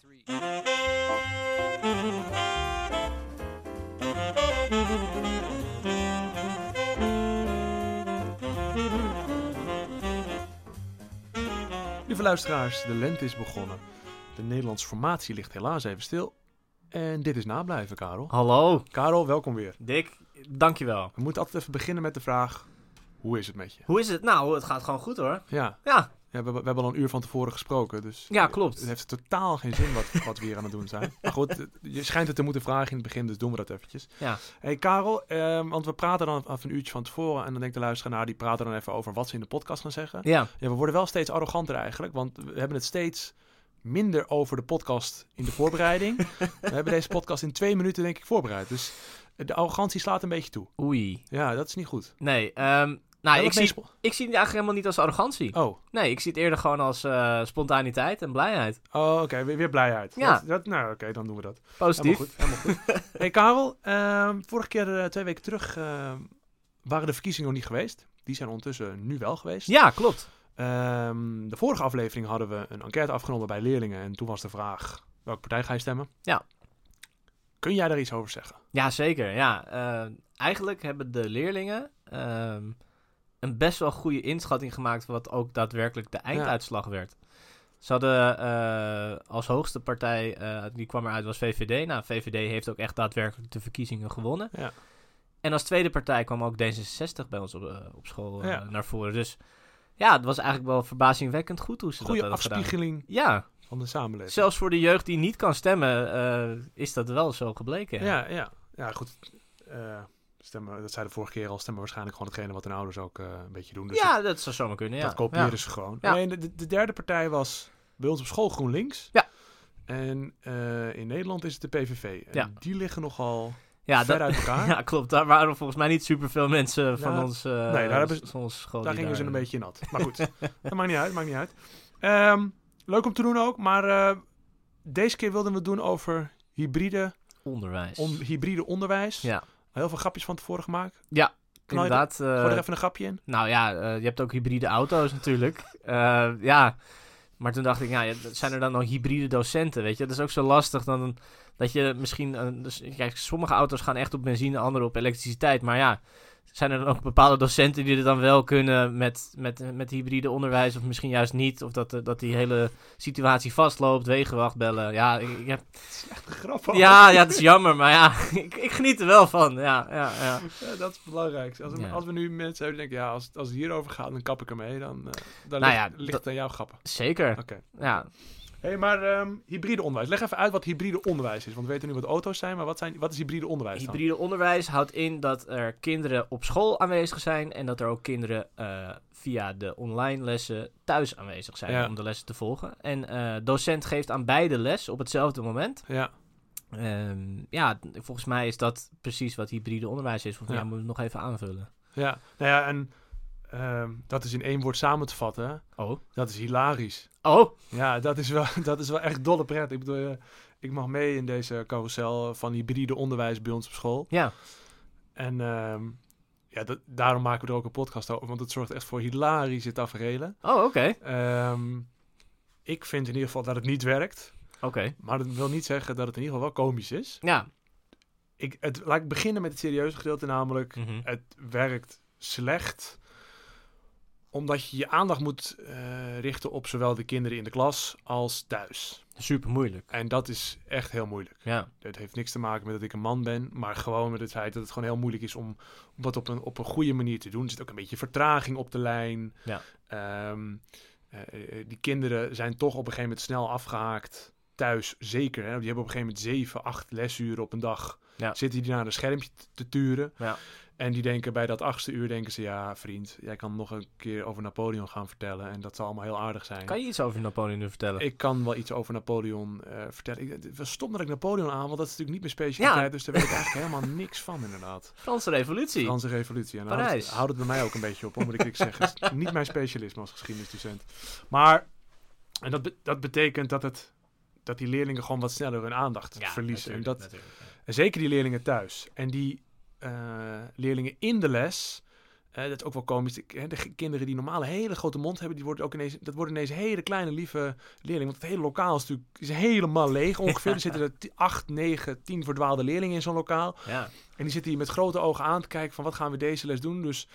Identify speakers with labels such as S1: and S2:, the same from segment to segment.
S1: Precies.
S2: Lieve luisteraars, de lente is begonnen. De Nederlandse formatie ligt helaas even stil. En dit is nablijven, Karel.
S3: Hallo,
S2: Karel, welkom weer.
S3: Dick. Dankjewel.
S2: We moeten altijd even beginnen met de vraag: hoe is het met je?
S3: Hoe is het? Nou, het gaat gewoon goed hoor.
S2: Ja,
S3: Ja,
S2: ja we, hebben- we hebben al een uur van tevoren gesproken, dus
S3: ja klopt.
S2: het heeft totaal geen zin wat, wat we hier aan het doen zijn. Maar goed, eh, je schijnt het te moeten vragen in het begin, dus doen we dat eventjes.
S3: Ja.
S2: hey, Karel, ehm, want we praten dan af een uurtje van tevoren en dan denkt de luisteraar, nou, die praten dan even over wat ze in de podcast gaan zeggen.
S3: Ja,
S2: Ja, we worden wel steeds arroganter eigenlijk, want we hebben het steeds minder over de podcast in de voorbereiding. we hebben deze podcast in twee minuten, denk ik, voorbereid. Dus de arrogantie slaat een beetje toe.
S3: oei.
S2: Ja, dat is niet goed.
S3: Nee, ehm, nou,
S2: Wel
S3: ik
S2: een
S3: zie,
S2: meespo-
S3: ik zie het eigenlijk helemaal niet als arrogantie.
S2: Oh,
S3: Nee, ik zie het eerder gewoon als eh, spontaniteit en blijheid.
S2: oh oké, weer, weer blijheid.
S3: Ja.
S2: Dat, dat- nou, oké, dan doen we dat.
S3: Positief.
S2: Helemaal goed. Helemaal goed. hey, Karel, ehm, vorige keer, eh, twee weken terug, ehm, waren de verkiezingen nog niet geweest. Die zijn ondertussen nu wel geweest.
S3: Ja, klopt.
S2: Ehm, de vorige aflevering hadden we een enquête afgenomen bij leerlingen. En toen was de vraag: welke partij ga je stemmen?
S3: Ja.
S2: Kun jij daar iets over zeggen?
S3: Ja, zeker. Ja, Eh, eigenlijk hebben de leerlingen ehm, een best wel goede inschatting gemaakt wat ook daadwerkelijk de einduitslag werd. Ze hadden eh, als hoogste partij, eh, die kwam eruit, was VVD. Nou, VVD heeft ook echt daadwerkelijk de verkiezingen gewonnen.
S2: Ja.
S3: En als tweede partij kwam ook D66 bij ons op, eh, op school eh,
S2: Ja.
S3: naar voren. Dus ja, het was eigenlijk wel verbazingwekkend goed hoe ze
S2: Goede
S3: dat hadden gedaan.
S2: afspiegeling
S3: Ja,
S2: van de samenleving.
S3: zelfs voor de jeugd die niet kan stemmen, eh, is dat wel zo gebleken.
S2: ja, ja. ja, goed. Eh, stemmen, dat zei de vorige keer al: stemmen waarschijnlijk gewoon hetgene wat hun ouders ook eh, een beetje doen. Dus
S3: ja, dat zou zomaar kunnen. Ja.
S2: Dat kopiëren
S3: Ja.
S2: ze gewoon.
S3: Ja.
S2: Alleen de, de derde partij was bij ons op school GroenLinks.
S3: Ja.
S2: En eh, in Nederland is het de PVV. En
S3: Ja.
S2: die liggen nogal
S3: Ja,
S2: ver
S3: dat,
S2: uit elkaar.
S3: ja, klopt. Daar waren volgens mij niet superveel mensen van
S2: Ja,
S3: ons, eh
S2: daar hebben ze-
S3: van ons school.
S2: Daar
S3: die
S2: gingen ze een beetje nat. Maar goed, dat maakt niet uit. Maakt niet uit. Ehm, leuk om te doen ook. Maar eh, deze keer wilden we het doen over hybride,
S3: Onderwijs.
S2: on- hybride onderwijs.
S3: Ja. Eh,
S2: Heel veel grapjes van tevoren gemaakt.
S3: Ja,
S2: Knal je er-
S3: Inderdaad. eh,
S2: gooi er even een grapje in.
S3: nou ja, eh, je hebt ook hybride auto's natuurlijk. Eh, ja. Maar toen dacht ik, ja, ja, zijn er dan nog hybride docenten, weet je? Dat is ook zo lastig dan dat je misschien... een- dus, kijk, sommige auto's gaan echt op benzine, andere op elektriciteit. Maar ja, zijn er dan ook bepaalde docenten die er dan wel kunnen met, met, met hybride onderwijs... of misschien juist niet, of dat, eh, dat die hele situatie vastloopt, wegenwacht bellen. Ja, ik, ik heb
S2: Grap
S3: Ja, ja, het is jammer, maar ja, ik, ik geniet er wel van. Ja, ja, ja.
S2: dat is belangrijk. Als, we-
S3: Ja.
S2: als we nu mensen hebben die denken, ja, als, als het hierover gaat, dan kap ik ermee. Dan, eh, dan
S3: Nou
S2: ligt,
S3: ja,
S2: ligt
S3: dat-
S2: het aan jouw grappen.
S3: Zeker.
S2: Oké.
S3: Ja.
S2: Hé, hey, maar ehm, hybride onderwijs. Leg even uit wat hybride onderwijs is. Want we weten nu wat auto's zijn, maar wat, zijn, wat is hybride onderwijs dan?
S3: Hybride onderwijs houdt in dat er kinderen op school aanwezig zijn en dat er ook kinderen eh, via de online lessen thuis aanwezig zijn
S2: Ja.
S3: om de lessen te volgen. En eh, docent geeft aan beide les op hetzelfde moment.
S2: Ja,
S3: Ehm, ja, volgens mij is dat precies wat hybride onderwijs is. Volgens mij
S2: Ja.
S3: moet ik het nog even aanvullen.
S2: ja. Nou ja, en ehm, dat is in één woord samen te vatten. hè.
S3: Oh.
S2: Dat is hilarisch.
S3: Oh,
S2: Ja, dat is wel, dat is wel echt dolle pret. Ik bedoel, eh, ik mag mee in deze carousel van hybride onderwijs bij ons op school.
S3: ja.
S2: En ehm, ja, dat, daarom maken we er ook een podcast over. Want het zorgt echt voor hilarische taferelen.
S3: Oh, oké.
S2: Ehm, ik vind in ieder geval dat het niet werkt.
S3: Oké.
S2: Maar dat wil niet zeggen dat het in ieder geval wel komisch is.
S3: Ja.
S2: Ik, het, laat ik beginnen met het serieuze gedeelte, namelijk...
S3: Mhm.
S2: het werkt slecht omdat je je aandacht moet eh, richten op zowel de kinderen in de klas als thuis.
S3: Super moeilijk.
S2: En dat is echt heel moeilijk.
S3: Ja.
S2: Het heeft niks te maken met dat ik een man ben, maar gewoon met het feit dat het gewoon heel moeilijk is om, om dat op een, op een goede manier te doen. Er zit ook een beetje vertraging op de lijn.
S3: Ja.
S2: Ehm, eh, eh, die kinderen zijn toch op een gegeven moment snel afgehaakt. Thuis zeker. Hè? Die hebben op een gegeven moment zeven, acht lesuren op een dag.
S3: Ja.
S2: Zitten die naar een schermpje t- te turen.
S3: Ja.
S2: En die denken bij dat achtste uur, denken ze, ja vriend, jij kan nog een keer over Napoleon gaan vertellen. En dat zal allemaal heel aardig zijn.
S3: Kan je iets over Napoleon nu vertellen?
S2: Ik kan wel iets over Napoleon eh, vertellen. Ik, het was stom dat ik Napoleon aan, want dat is natuurlijk niet mijn specialiteit.
S3: Ja.
S2: Dus daar weet ik eigenlijk helemaal niks van, inderdaad.
S3: Franse revolutie.
S2: Franse revolutie. En houdt het,
S3: Parijs.
S2: houdt het bij mij ook een beetje op, hoor, moet ik niks zeggen. Het is niet mijn specialisme als geschiedenisdocent. Maar, en dat, be- dat betekent dat, het, dat die leerlingen gewoon wat sneller hun aandacht verliezen. En, dat, en zeker die leerlingen thuis. En die eh, leerlingen in de les... Eh, dat is ook wel komisch. Ik- hè, De g- kinderen die normaal een hele grote mond hebben, die worden ook ineens, dat worden ineens hele kleine, lieve leerlingen. Want het hele lokaal is natuurlijk is helemaal leeg ongeveer. Er zitten er t- acht, negen, tien verdwaalde leerlingen in zo'n lokaal.
S3: Ja.
S2: En die zitten hier met grote ogen aan te kijken van wat gaan we deze les doen. Dus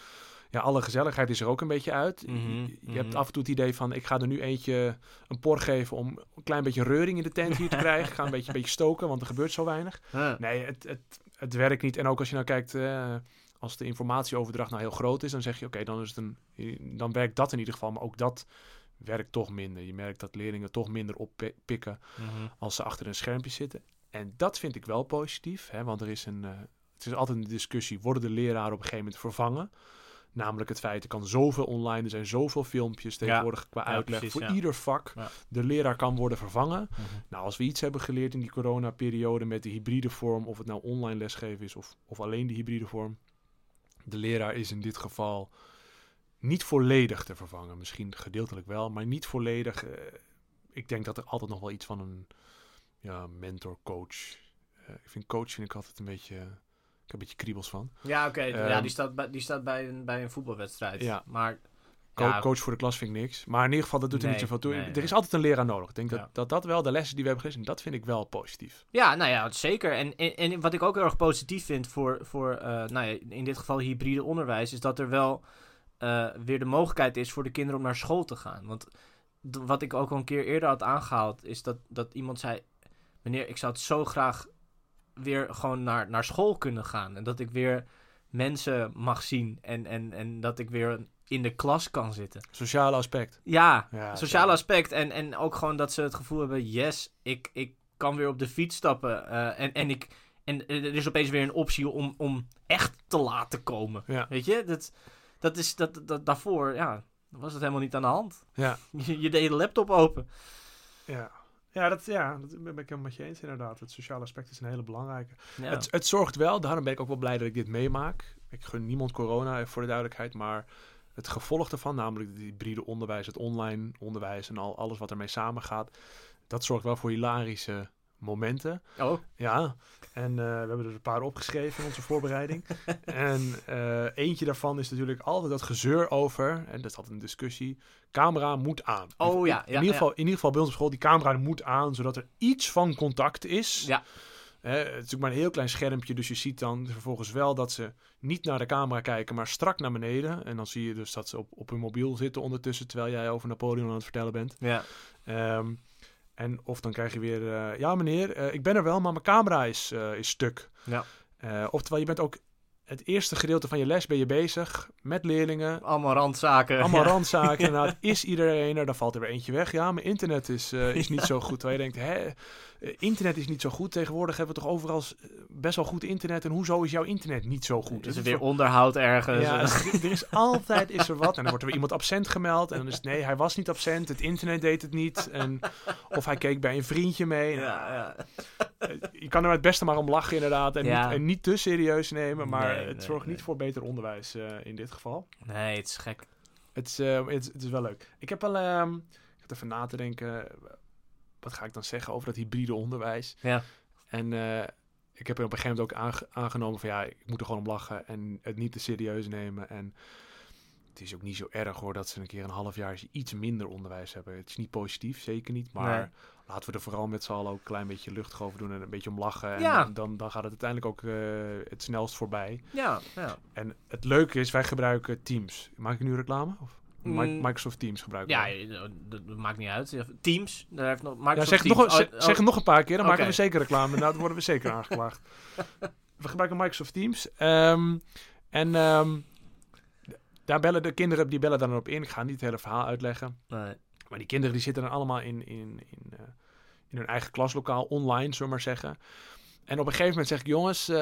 S2: ja, alle gezelligheid is er ook een beetje uit. Je-
S3: Mhm,
S2: je
S3: mhm.
S2: hebt af en toe het idee van ik ga er nu eentje een por geven om een klein beetje reuring in de tent hier te krijgen. Ik ga een beetje, een beetje stoken, want er gebeurt zo weinig.
S3: Huh.
S2: Nee, het, het, het werkt niet. En ook als je nou kijkt, eh, als de informatieoverdracht nou heel groot is, dan zeg je oké, dan is het een, dan werkt dat in ieder geval. Maar ook dat werkt toch minder. Je merkt dat leerlingen toch minder oppikken
S3: Mhm.
S2: als ze achter een schermpje zitten. En dat vind ik wel positief, hè, want er is een, eh, het is altijd een discussie: worden de leraren op een gegeven moment vervangen? Namelijk het feit, er kan zoveel online, er zijn zoveel filmpjes tegenwoordig qua
S3: ja,
S2: uitleg
S3: precies,
S2: voor
S3: ja.
S2: ieder vak.
S3: Ja.
S2: De leraar kan worden vervangen.
S3: Mhm.
S2: Nou, als we iets hebben geleerd in die coronaperiode met de hybride vorm, of het nou online lesgeven is of, of alleen de hybride vorm, de leraar is in dit geval niet volledig te vervangen. Misschien gedeeltelijk wel, maar niet volledig. Eh, ik denk dat er altijd nog wel iets van een ja, mentor, coach. eh, ik vind coach vind ik altijd een beetje. Ik heb een beetje kriebels van.
S3: Ja, oké. ja,
S2: Ehm.
S3: die staat, bij, die staat bij, een, bij een voetbalwedstrijd.
S2: Ja.
S3: Maar
S2: Co-
S3: Ja.
S2: Coach voor de klas vind ik niks. Maar in ieder geval, dat doet er
S3: Nee,
S2: niet zoveel toe.
S3: nee,
S2: er
S3: nee.
S2: is altijd een leraar nodig. Ik denk
S3: Ja.
S2: dat, dat dat wel de lessen die we hebben gelezen, dat vind ik wel positief.
S3: Ja, nou ja, zeker. En, en, en wat ik ook heel erg positief vind voor, voor eh, nou ja, in dit geval hybride onderwijs, is dat er wel eh, weer de mogelijkheid is voor de kinderen om naar school te gaan. Want d- wat ik ook al een keer eerder had aangehaald, is dat, dat iemand zei: Meneer, ik zou het zo graag weer gewoon naar, naar school kunnen gaan. En dat ik weer mensen mag zien en, en, en dat ik weer in de klas kan zitten.
S2: Sociale aspect.
S3: Ja,
S2: Ja,
S3: sociale
S2: zeker.
S3: aspect. En, en ook gewoon dat ze het gevoel hebben: yes, ik, ik kan weer op de fiets stappen. eh, en, en, ik, en er is opeens weer een optie om, om echt te laten komen.
S2: Ja.
S3: Weet je, dat, dat is dat, dat, daarvoor, ja, was het helemaal niet aan de hand.
S2: Ja.
S3: Je, je deed de laptop open.
S2: Ja. Ja, dat, ja, dat ben ik helemaal met je eens inderdaad. Het sociale aspect is een hele belangrijke.
S3: Ja.
S2: Het, het zorgt wel, daarom ben ik ook wel blij dat ik dit meemaak. Ik gun niemand corona, even voor de duidelijkheid. Maar het gevolg daarvan, namelijk het hybride onderwijs, het online onderwijs en al, alles wat ermee samengaat. Dat zorgt wel voor hilarische momenten.
S3: oh,
S2: Ja, en eh, we hebben er een paar opgeschreven in onze voorbereiding. en eh, eentje daarvan is natuurlijk altijd dat gezeur over, en dat is altijd een discussie, camera moet aan.
S3: oh ja. ja
S2: in, ieder geval, in ieder geval bij ons op school, die camera moet aan, zodat er iets van contact is.
S3: Ja.
S2: Hè, het is natuurlijk maar een heel klein schermpje, dus je ziet dan vervolgens wel dat ze niet naar de camera kijken, maar strak naar beneden. En dan zie je dus dat ze op, op hun mobiel zitten ondertussen, terwijl jij over Napoleon aan het vertellen bent.
S3: Ja. Ja.
S2: Ehm, en of dan krijg je weer, eh, ja meneer, eh, ik ben er wel, maar mijn camera is, eh, is stuk.
S3: Ja.
S2: Eh, oftewel, je bent ook het eerste gedeelte van je les ben je bezig met leerlingen.
S3: Allemaal randzaken.
S2: Allemaal
S3: Eh, ja.
S2: randzaken. Inderdaad, is iedereen er? Dan valt er weer eentje weg. Ja, mijn internet is, eh, is niet zo goed. Terwijl je denkt, hè, eh, internet is niet zo goed. Tegenwoordig hebben we toch overal s- eh, best wel goed internet. En hoezo is jouw internet niet zo goed?
S3: Is
S2: Het
S3: er weer onderhoud ergens?
S2: ja, er- er is altijd is er wat. En dan wordt er weer iemand absent gemeld. En dan is het, nee, hij was niet absent. Het internet deed het niet. En, of hij keek bij een vriendje mee.
S3: ja, ja.
S2: Eh, Je kan er het beste maar om lachen inderdaad. En,
S3: Ja.
S2: niet, en niet te serieus nemen. Maar
S3: Nee,
S2: het
S3: nee,
S2: zorgt niet
S3: nee.
S2: voor beter onderwijs eh, in dit geval.
S3: Nee, het is gek.
S2: Het is, eh, het, is- het is wel leuk. Ik heb wel... ehm ik had even na te denken. Wat ga ik dan zeggen over dat hybride onderwijs?
S3: Ja.
S2: En eh, ik heb er op een gegeven moment ook aange- aangenomen van ja, ik moet er gewoon om lachen en het niet te serieus nemen. En het is ook niet zo erg hoor dat ze een keer een half jaar iets minder onderwijs hebben. Het is niet positief, zeker niet. Maar
S3: Nee.
S2: laten we er vooral met z'n allen ook een klein beetje luchtig over doen en een beetje om lachen. En
S3: Ja.
S2: dan, dan gaat het uiteindelijk ook eh, het snelst voorbij.
S3: Ja, ja.
S2: En het leuke is, wij gebruiken Teams. Maak ik nu reclame? Of Mi-
S3: Mm.
S2: Microsoft Teams gebruiken
S3: Ja,
S2: wij.
S3: dat, dat maakt niet uit. Teams, daar heeft nog
S2: Ja,
S3: Microsoft
S2: zeg, het
S3: Teams.
S2: nog, een-
S3: Oh,
S2: zeg-
S3: oh,
S2: zeg het nog een paar keer, dan
S3: Oké.
S2: maken we zeker reclame. Nou, dan worden we zeker aangeklaagd. We gebruiken Microsoft Teams. ehm, en ehm, d- daar bellen de kinderen die bellen dan op in. Ik ga niet het hele verhaal uitleggen.
S3: nee.
S2: Maar die kinderen die zitten dan allemaal in, in, in, eh, in hun eigen klaslokaal, online, zullen we maar zeggen. En op een gegeven moment zeg ik, jongens, eh,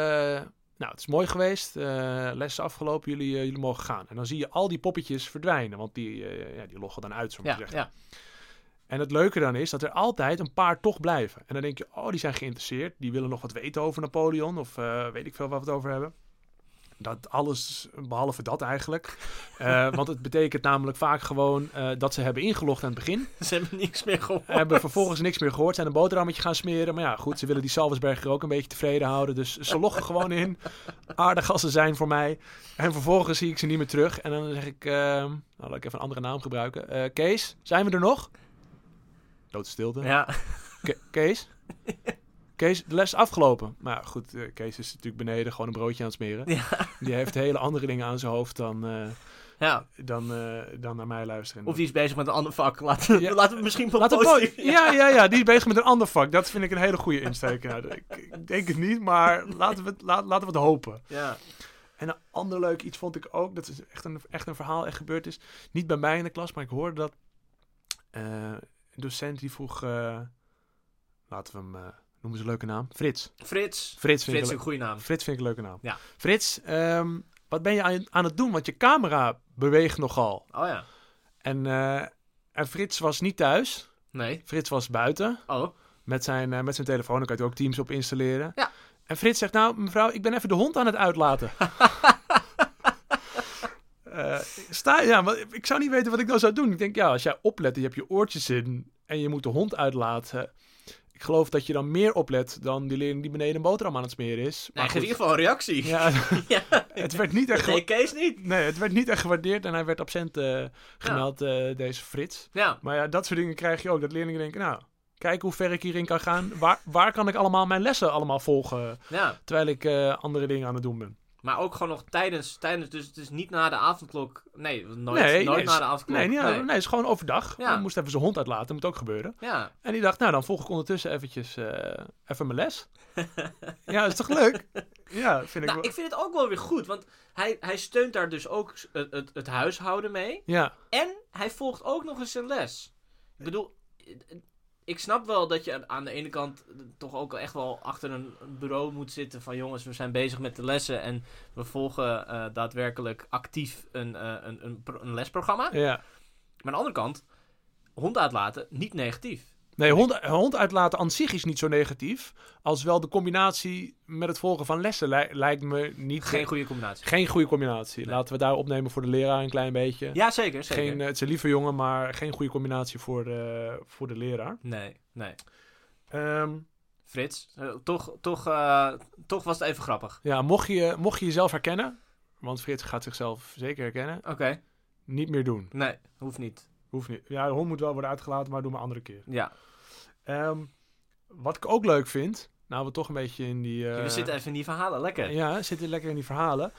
S2: nou, het is mooi geweest. eh lessen afgelopen, jullie, eh, jullie mogen gaan. En dan zie je al die poppetjes verdwijnen, want die, eh, ja, die loggen dan uit, zullen we maar
S3: Ja,
S2: zeggen.
S3: ja.
S2: En het leuke dan is dat er altijd een paar toch blijven. En dan denk je, oh, die zijn geïnteresseerd. Die willen nog wat weten over Napoleon. Of eh, weet ik veel waar we het over hebben. Dat alles, behalve dat eigenlijk. Eh, want het betekent namelijk vaak gewoon eh, dat ze hebben ingelogd aan het begin.
S3: Ze hebben niks meer gehoord.
S2: Hebben vervolgens niks meer gehoord. Zijn een boterhammetje gaan smeren. Maar ja, goed, ze willen die Salvesberger ook een beetje tevreden houden. Dus ze loggen gewoon in. Aardig als ze zijn voor mij. En vervolgens zie ik ze niet meer terug. En dan zeg ik, ehm, nou laat ik even een andere naam gebruiken. Eh, Kees, zijn we er nog? Doodstilte.
S3: Ja,
S2: Ke- Kees? Kees, de les is afgelopen. Maar ja, goed, eh, Kees is natuurlijk beneden gewoon een broodje aan het smeren. Die heeft hele andere dingen aan zijn hoofd dan, eh,
S3: ja.
S2: dan, eh, dan naar mij luisteren.
S3: Of die is bezig met een ander vak. Laten,
S2: Ja.
S3: laten we misschien wel
S2: Laat het
S3: positief-
S2: mooi- Ja, ja, ja, die is bezig met een ander vak. Dat vind ik een hele goede insteek. Nou, ik, ik denk het niet, maar laten we het, laat, laten we het hopen.
S3: Ja.
S2: En een ander leuk iets vond ik ook, dat is echt een, echt een verhaal echt gebeurd is. Niet bij mij in de klas, maar ik hoorde dat eh, een docent die vroeg, eh, laten we hem eh, noemen ze een leuke naam, Frits.
S3: Frits.
S2: Frits vind,
S3: Frits is
S2: ik,
S3: een
S2: een
S3: goede naam.
S2: leu- Frits vind ik een leuke naam.
S3: Ja.
S2: Frits, ehm, wat ben je aan, aan het doen? Want je camera beweegt nogal.
S3: Oh ja.
S2: En, eh, en Frits was niet thuis.
S3: Nee.
S2: Frits was buiten
S3: Oh.
S2: met zijn, eh, met zijn telefoon. Dan kan je er ook Teams op installeren.
S3: Ja.
S2: En Frits zegt, nou mevrouw, ik ben even de hond aan het uitlaten. Eh, sta, ja, maar ik zou niet weten wat ik dan zou doen. Ik denk, ja, als jij oplet, je hebt je oortjes in en je moet de hond uitlaten. Ik geloof dat je dan meer oplet dan die leerling die beneden een boterham aan het smeren is.
S3: Nee,
S2: Maar
S3: geef in
S2: goed.
S3: ieder geval een reactie.
S2: Ja,
S3: Ja.
S2: het werd niet echt...
S3: Nee,
S2: gewa-
S3: Kees niet.
S2: Nee, het werd niet echt gewaardeerd en hij werd absent eh, gemeld, eh, deze Frits.
S3: Ja.
S2: Maar ja, dat soort dingen krijg je ook. Dat leerlingen denken, nou, kijk hoe ver ik hierin kan gaan. Waar, waar kan ik allemaal mijn lessen allemaal volgen,
S3: Ja.
S2: terwijl ik eh, andere dingen aan het doen ben.
S3: Maar ook gewoon nog tijdens, tijdens, dus het is niet na de avondklok. Nee, nooit,
S2: Nee,
S3: nooit
S2: nee,
S3: na de avondklok.
S2: Nee, niet, nee. het is gewoon overdag.
S3: Ja.
S2: Hij moest even zijn hond uitlaten, moet ook gebeuren.
S3: Ja,
S2: En die dacht, nou, dan volg ik ondertussen eventjes eh, even mijn les. ja, is toch leuk? Ja, vind ik
S3: nou,
S2: wel.
S3: ik vind het ook wel weer goed, want hij, hij steunt daar dus ook s- het, het, het huishouden mee.
S2: Ja,
S3: En hij volgt ook nog eens zijn les. Ik bedoel, ik snap wel dat je aan de ene kant toch ook echt wel achter een bureau moet zitten van jongens, we zijn bezig met de lessen en we volgen eh, daadwerkelijk actief een, eh, een, een, pro- een lesprogramma. Maar
S2: ja.
S3: aan de andere kant, hond uitlaten, niet negatief.
S2: Nee, hond, hond uitlaten aan zich is niet zo negatief. Als wel de combinatie met het volgen van lessen lij- lijkt me niet...
S3: Geen goede combinatie.
S2: geen goede combinatie.
S3: Nee.
S2: Laten we daar opnemen voor de leraar een klein beetje.
S3: Ja, zeker, zeker.
S2: Geen, eh, het is een lieve jongen, maar geen goede combinatie voor de, voor de leraar.
S3: Nee, nee.
S2: Ehm,
S3: Frits, eh, toch, toch, eh, toch was het even grappig.
S2: ja, mocht je, mocht je jezelf herkennen, want Frits gaat zichzelf zeker herkennen,
S3: Oké,
S2: niet meer doen.
S3: nee, hoeft niet.
S2: Hoeft niet. Ja, de hond moet wel worden uitgelaten, maar doe maar een andere keer.
S3: Ja,
S2: Ehm, wat ik ook leuk vind, nou we toch een beetje in die... eh,
S3: we zitten even in die verhalen, lekker.
S2: Ja, zitten lekker in die verhalen.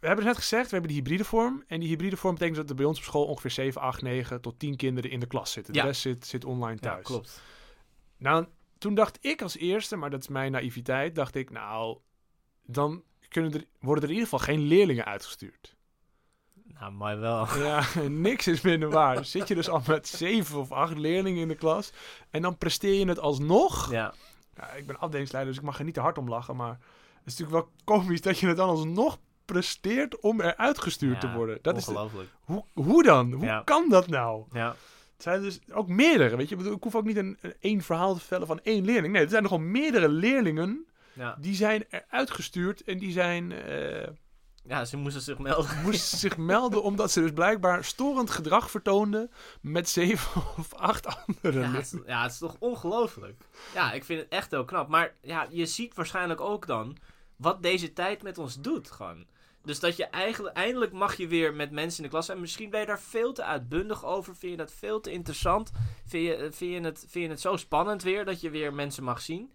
S2: We hebben het net gezegd, we hebben die hybride vorm. En die hybride vorm betekent dat er bij ons op school ongeveer 7, 8, 9 tot 10 kinderen in de klas zitten.
S3: Ja.
S2: De rest zit, zit online thuis.
S3: ja klopt.
S2: Nou, toen dacht ik als eerste, maar dat is mijn naïviteit, dacht ik, nou, dan kunnen er, worden er in ieder geval geen leerlingen uitgestuurd.
S3: Nou, maar wel.
S2: Ja, niks is minder waar. Zit je dus al met zeven of acht leerlingen in de klas en dan presteer je het alsnog.
S3: Ja,
S2: Ja, ik ben afdelingsleider, dus ik mag er niet te hard om lachen, maar het is natuurlijk wel komisch dat je het dan alsnog presteert om eruit gestuurd te worden. Dat is de-
S3: ongelooflijk.
S2: hoe, hoe dan? Hoe
S3: Ja.
S2: kan dat nou?
S3: Ja.
S2: Het zijn dus ook meerdere, weet je. Ik, bedoel, ik hoef ook niet een, een één verhaal te vertellen van één leerling. Nee, er zijn nogal meerdere leerlingen
S3: Ja.
S2: die zijn eruit gestuurd en die zijn, eh,
S3: ja, ze moesten zich melden.
S2: moesten zich melden omdat ze dus blijkbaar storend gedrag vertoonden met zeven of acht anderen.
S3: Ja, het, is- ja, het is toch ongelooflijk. Ja, ik vind het echt heel knap. Maar ja, je ziet waarschijnlijk ook dan wat deze tijd met ons doet gewoon. Dus dat je eigenlijk, eindelijk mag je weer met mensen in de klas zijn. Misschien ben je daar veel te uitbundig over. Vind je dat veel te interessant? Vind je, eh, vind je, het, vind je het zo spannend weer dat je weer mensen mag zien?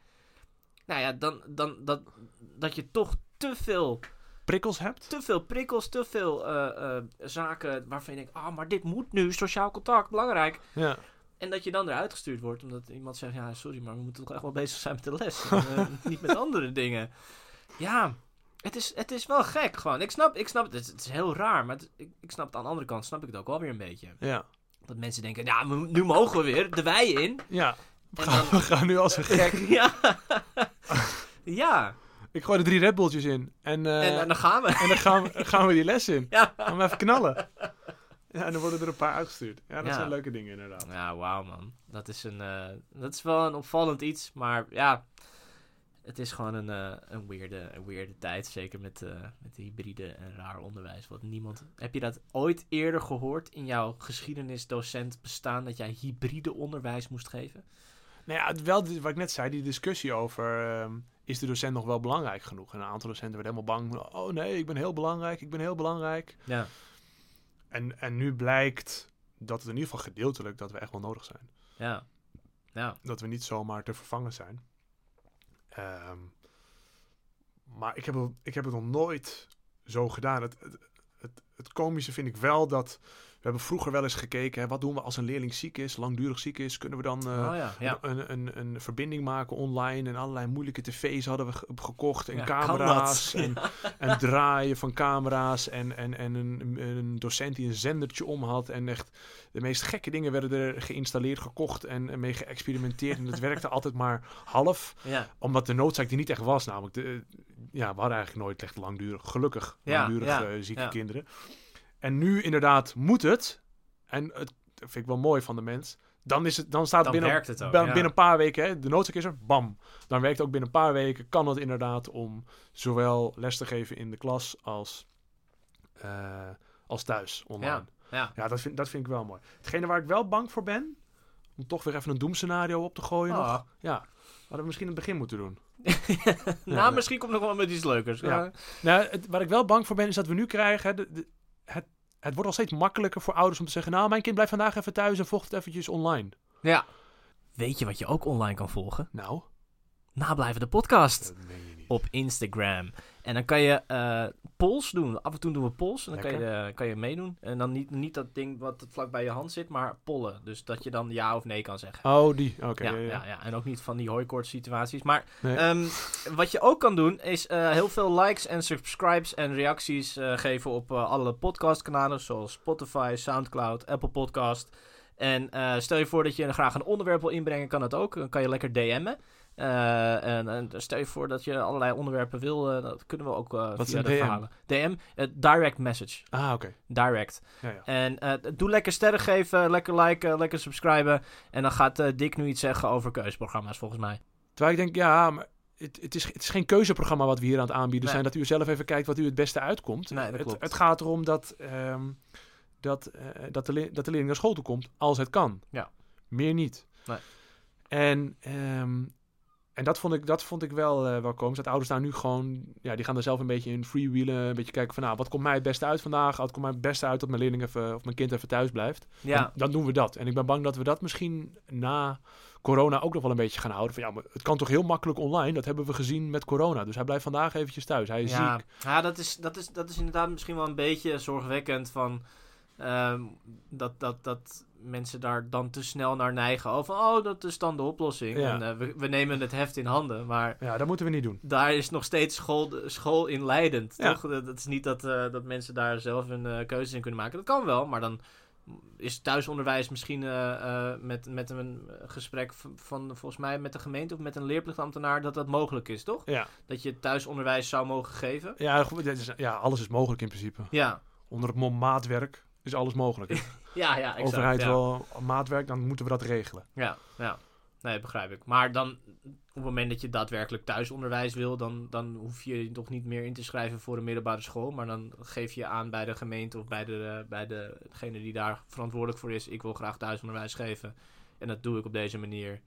S3: Nou ja, dan, dan, dat, dat je toch te veel
S2: Prikkels hebt.
S3: te veel prikkels, te veel eh, eh, zaken waarvan je denkt, ah, maar dit moet nu, sociaal contact, belangrijk.
S2: Ja.
S3: En dat je dan eruit gestuurd wordt, omdat iemand zegt, ja, sorry, maar we moeten toch echt wel bezig zijn met de les. en, eh, niet met andere dingen. Ja, het is, het is wel gek gewoon. Ik snap, ik snap het, is- het is heel raar, maar het- ik, ik snap het aan de andere kant, snap ik het ook wel weer een beetje.
S2: Ja.
S3: Dat mensen denken, ja, nou, nu mogen we weer, de wij in.
S2: ja. We,
S3: En
S2: gaan, we gaan nu als een gek.
S3: ja. ja,
S2: Ik gooi er drie Red Bulltjes in. En, eh,
S3: en, en dan gaan we.
S2: en dan gaan we, gaan we die les in.
S3: Ja.
S2: Gaan we even knallen. Ja, en dan worden er een paar uitgestuurd. Ja, dat
S3: Ja.
S2: zijn leuke dingen inderdaad.
S3: Ja, wauw man. Dat is, een, eh, dat is wel een opvallend iets. Maar ja, het is gewoon een, eh, een, weirde, een weirde tijd. Zeker met, eh, met hybride en raar onderwijs. Want niemand. Heb je dat ooit eerder gehoord in jouw geschiedenisdocent bestaan dat jij hybride onderwijs moest geven?
S2: Nou ja, het- wel dit- wat ik net zei, die discussie over... ehm, is de docent nog wel belangrijk genoeg? En een aantal docenten werden helemaal bang. Oh nee, ik ben heel belangrijk, ik ben heel belangrijk.
S3: Ja.
S2: En, en nu blijkt dat het in ieder geval gedeeltelijk... dat we echt wel nodig zijn.
S3: Ja. Ja.
S2: dat we niet zomaar te vervangen zijn. Ehm, maar ik heb, het- ik heb het nog nooit zo gedaan. Het, het, het, het komische vind ik wel dat we hebben vroeger wel eens gekeken. Hè, wat doen we als een leerling ziek is, langdurig ziek is? Kunnen we dan eh,
S3: oh ja. ja.
S2: een, een, een verbinding maken online? En allerlei moeilijke tv's hadden we ge- gekocht. En
S3: Ja, kan
S2: camera's.
S3: dat?
S2: En, en draaien van camera's. En, en, en een, een docent die een zendertje om had. En echt de meest gekke dingen werden er geïnstalleerd, gekocht en, en mee geëxperimenteerd. En dat werkte altijd maar half.
S3: Ja.
S2: Omdat de noodzaak die niet echt was. Namelijk, de, eh, ja, we hadden eigenlijk nooit echt langdurig, gelukkig,
S3: Ja,
S2: langdurig
S3: ja,
S2: eh, zieke
S3: ja.
S2: kinderen. En nu inderdaad moet het. En het dat vind ik wel mooi van de mens. Dan, is het, dan staat
S3: Dan
S2: binnen,
S3: werkt het ook,
S2: ben-
S3: ja.
S2: binnen een paar weken, hè, de noodzaak is er, bam. Dan werkt ook binnen een paar weken, kan het inderdaad om zowel les te geven in de klas als, eh, als thuis online.
S3: Ja. ja.
S2: Ja, dat vind, dat vind ik wel mooi. Hetgene waar ik wel bang voor ben, om toch weer even een doemscenario op te gooien. nog.
S3: Ah.
S2: Ja, hadden we misschien in het begin moeten doen.
S3: nou,
S2: nee.
S3: misschien komt nog wel met iets leukers. Eh,
S2: Ja.
S3: Ja.
S2: Nou, het, waar ik wel bang voor ben, is dat we nu krijgen... hè, de- de- het, het wordt al steeds makkelijker voor ouders om te zeggen... nou, mijn kind blijft vandaag even thuis en volgt het eventjes online.
S3: ja. Weet je wat je ook online kan volgen?
S2: Nou,
S3: Nablijven de podcast.
S2: dat meen je niet.
S3: op Instagram. En dan kan je eh polls doen. Af en toe doen we polls. En dan kan je, eh, kan je meedoen. En dan niet, niet dat ding wat vlak bij je hand zit, maar pollen. Dus dat je dan ja of nee kan zeggen.
S2: Oh, die. Oké.
S3: ja, ja, ja. En ook niet van die hooikoorts situaties. Maar
S2: Nee.
S3: ehm, wat je ook kan doen, is eh, heel veel likes en subscribes en reacties eh, geven op eh, alle podcastkanalen. Zoals Spotify, Soundcloud, Apple Podcast. En eh, stel je voor dat je een- graag een onderwerp wil inbrengen, kan dat ook. Dan kan je lekker DM'en. Eh, en, en stel je voor dat je allerlei onderwerpen wil, eh, dat kunnen we ook eh
S2: Wat is
S3: via
S2: een
S3: de
S2: DM?
S3: verhalen. DM, eh, direct message.
S2: Ah, oké.
S3: Direct.
S2: Ja, ja.
S3: En eh, doe lekker sterren geven, lekker liken, lekker subscriben. En dan gaat eh, Dick nu iets zeggen over keuzeprogramma's, volgens mij.
S2: Terwijl ik denk, ja, maar het, het, is, het is geen keuzeprogramma wat we hier aan het aanbieden
S3: Nee.
S2: zijn. Dat u zelf even kijkt wat u het beste uitkomt.
S3: Nee, dat klopt.
S2: Het, het gaat erom dat, ehm, dat, eh, dat, de, le- dat de leerling naar school toe komt als het kan.
S3: Ja.
S2: Meer niet.
S3: Nee.
S2: En, ehm, en dat vond ik, dat vond ik wel, eh wel komisch. Dat ouders daar nu gewoon, ja, die gaan er zelf een beetje in freewheelen. Een beetje kijken van, nou, wat komt mij het beste uit vandaag? Wat komt mij het beste uit dat mijn leerling even, of mijn kind even thuis blijft? Dan,
S3: Ja,
S2: dan doen we dat. En ik ben bang dat we dat misschien na corona ook nog wel een beetje gaan houden. Van ja, maar het kan toch heel makkelijk online? Dat hebben we gezien met corona. Dus hij blijft vandaag eventjes thuis. Hij is
S3: ja.
S2: ziek.
S3: ja dat, is, dat, is, dat is inderdaad misschien wel een beetje zorgwekkend van... ehm, dat, dat, dat mensen daar dan te snel naar neigen. Oh, van, oh dat is dan de oplossing.
S2: Ja.
S3: En, eh, we, we nemen het heft in handen, maar...
S2: Ja, dat moeten we niet doen.
S3: Daar is nog steeds school, school in leidend,
S2: Ja.
S3: toch? Dat dat is niet dat, eh, dat mensen daar zelf hun eh, keuzes in kunnen maken. Dat kan wel, maar dan is thuisonderwijs misschien eh, eh, met, met een gesprek v- van, volgens mij met de gemeente of met een leerplichtambtenaar dat dat mogelijk is, toch?
S2: Ja,
S3: Dat je thuisonderwijs zou mogen geven.
S2: ja, goed, dit is- ja alles is mogelijk in principe.
S3: Ja,
S2: Onder het mom maatwerk is alles mogelijk. Als
S3: ja, ja.
S2: de
S3: Exact,
S2: overheid
S3: ja.
S2: wel maatwerk, dan moeten we dat regelen.
S3: Ja, ja. Nee, begrijp ik. Maar dan, op het moment dat je daadwerkelijk thuisonderwijs wil, dan, dan hoef je je toch niet meer in te schrijven voor een middelbare school. Maar dan geef je aan bij de gemeente of bij, de, eh, bij de, degene die daar verantwoordelijk voor is. Ik wil graag thuisonderwijs geven. En dat doe ik op deze manier.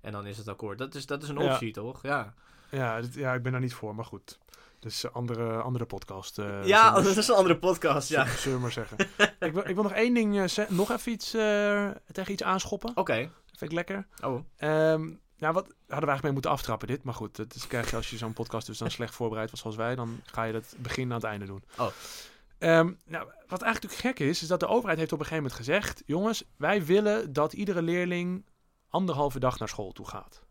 S3: En dan is het akkoord. Dat is, dat is een
S2: Ja.
S3: optie, toch? Ja,
S2: Ja, dit- ja, ik ben daar niet voor, maar goed. Dus andere, andere podcast. eh,
S3: ja
S2: zullen we-
S3: dat is een andere podcast. Ja. Oké.
S2: zullen we maar zeggen. ik, wil, ik wil nog één ding, eh, ze- nog even iets eh, tegen iets aanschoppen. Vind ik lekker.
S3: Oh,
S2: Ehm nou, wat hadden we eigenlijk mee moeten aftrappen dit. Maar goed, dat is, krijg je als je zo'n podcast dus dan slecht voorbereid was zoals wij. Dan ga je dat begin aan het einde doen.
S3: Oh.
S2: Ehm, nou, wat eigenlijk natuurlijk gek is, is dat de overheid heeft op een gegeven moment gezegd... Jongens, wij willen dat iedere leerling anderhalve dag naar school toe gaat.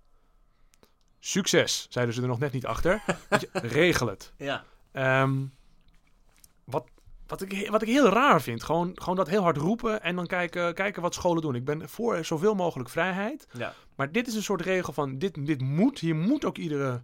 S2: Succes, zeiden ze er nog net niet achter. Weet je, Regel het.
S3: ja.
S2: Ehm, wat, wat, ik, wat ik heel raar vind, gewoon, gewoon dat heel hard roepen en dan kijken, kijken wat scholen doen. Ik ben voor zoveel mogelijk vrijheid.
S3: Ja.
S2: Maar dit is een soort regel van dit, dit moet, hier moet ook iedere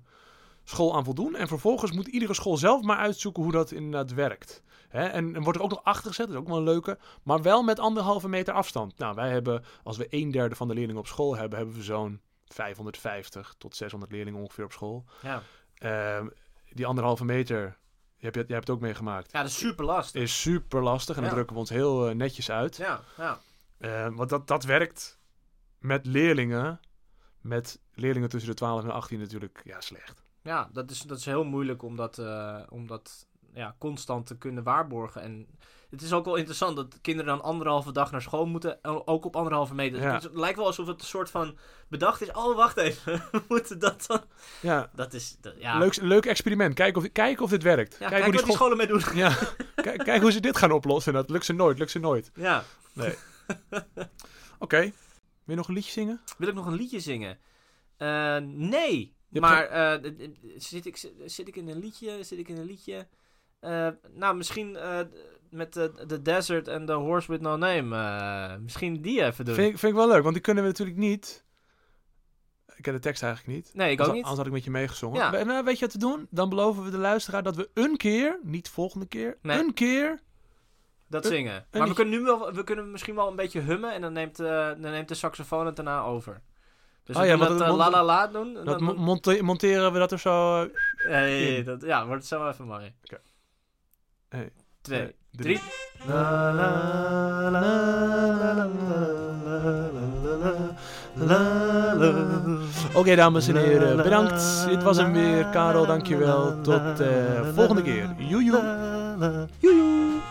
S2: school aan voldoen. En vervolgens moet iedere school zelf maar uitzoeken hoe dat inderdaad werkt. Hè? En, en wordt er ook nog achter gezet, dat is ook wel een leuke, maar wel met anderhalve meter afstand. Nou, wij hebben, als we een derde van de leerlingen op school hebben, hebben we zo'n 550 tot 600 leerlingen ongeveer op school.
S3: Ja.
S2: Ehm, die anderhalve meter, je hebt, je hebt het ook meegemaakt,
S3: ja, dat is super lastig.
S2: is super lastig. En dan
S3: Ja.
S2: drukken we ons heel eh, netjes uit.
S3: Ja, ja.
S2: Eh, want dat, dat werkt met leerlingen, met leerlingen tussen de 12 en de 18 natuurlijk, ja, slecht.
S3: ja dat, is, dat is heel moeilijk om dat, eh, om dat ja, constant te kunnen waarborgen. En het is ook wel interessant dat kinderen dan anderhalve dag naar school moeten, en ook op anderhalve meter.
S2: Ja.
S3: Dus het lijkt wel alsof het een soort van bedacht is. Oh, wacht even, we moeten dat dan...
S2: Ja,
S3: Dat is, dat- ja.
S2: Leuk, leuk experiment. Kijk of, kijk of dit werkt.
S3: Ja, kijk, wat die
S2: school-
S3: scholen mee doen.
S2: Ja, kijk, kijk hoe ze dit gaan oplossen. Dat lukt ze nooit, lukt ze nooit.
S3: Ja.
S2: Oké. Wil je nog een liedje zingen?
S3: Wil ik nog een liedje zingen? Eh, nee.
S2: hebt
S3: maar eh, d- d- zit, ik, zit ik in een liedje? Zit ik in een liedje? Eh, nou, misschien eh, d- met de The Desert en The Horse With No Name. eh, misschien die even doen.
S2: Vind ik, vind ik wel leuk, want die kunnen we natuurlijk niet... Ik ken de tekst eigenlijk niet.
S3: Nee, ik ook
S2: anders,
S3: niet.
S2: anders had ik met je meegezongen.
S3: Ja.
S2: We- nou, weet je wat te doen? Dan beloven we de luisteraar dat we een keer, niet volgende keer,
S3: Nee.
S2: een keer...
S3: Dat
S2: Eh,
S3: zingen.
S2: een
S3: maar we
S2: liedje.
S3: kunnen, nu wel, we kunnen misschien wel een beetje hummen en dan neemt, eh, dan neemt de saxofoon het daarna over. Dus
S2: Oh
S3: we
S2: ja,
S3: kunnen
S2: want
S3: dat
S2: het
S3: eh, la
S2: mond-
S3: la la doen.
S2: Dat
S3: en dan-
S2: mo- monte- monteren we dat er zo... eh,
S3: Ja, ja, ja,
S2: in.
S3: dat, ja, wordt zo even mooi.
S2: Oké. Hey,
S3: Twee,
S2: eh,
S3: drie.
S2: Oké, dames en heren, bedankt. Dit was hem weer. Karel, dankjewel. Tot eh volgende keer. Joejoe.
S1: Joejoe.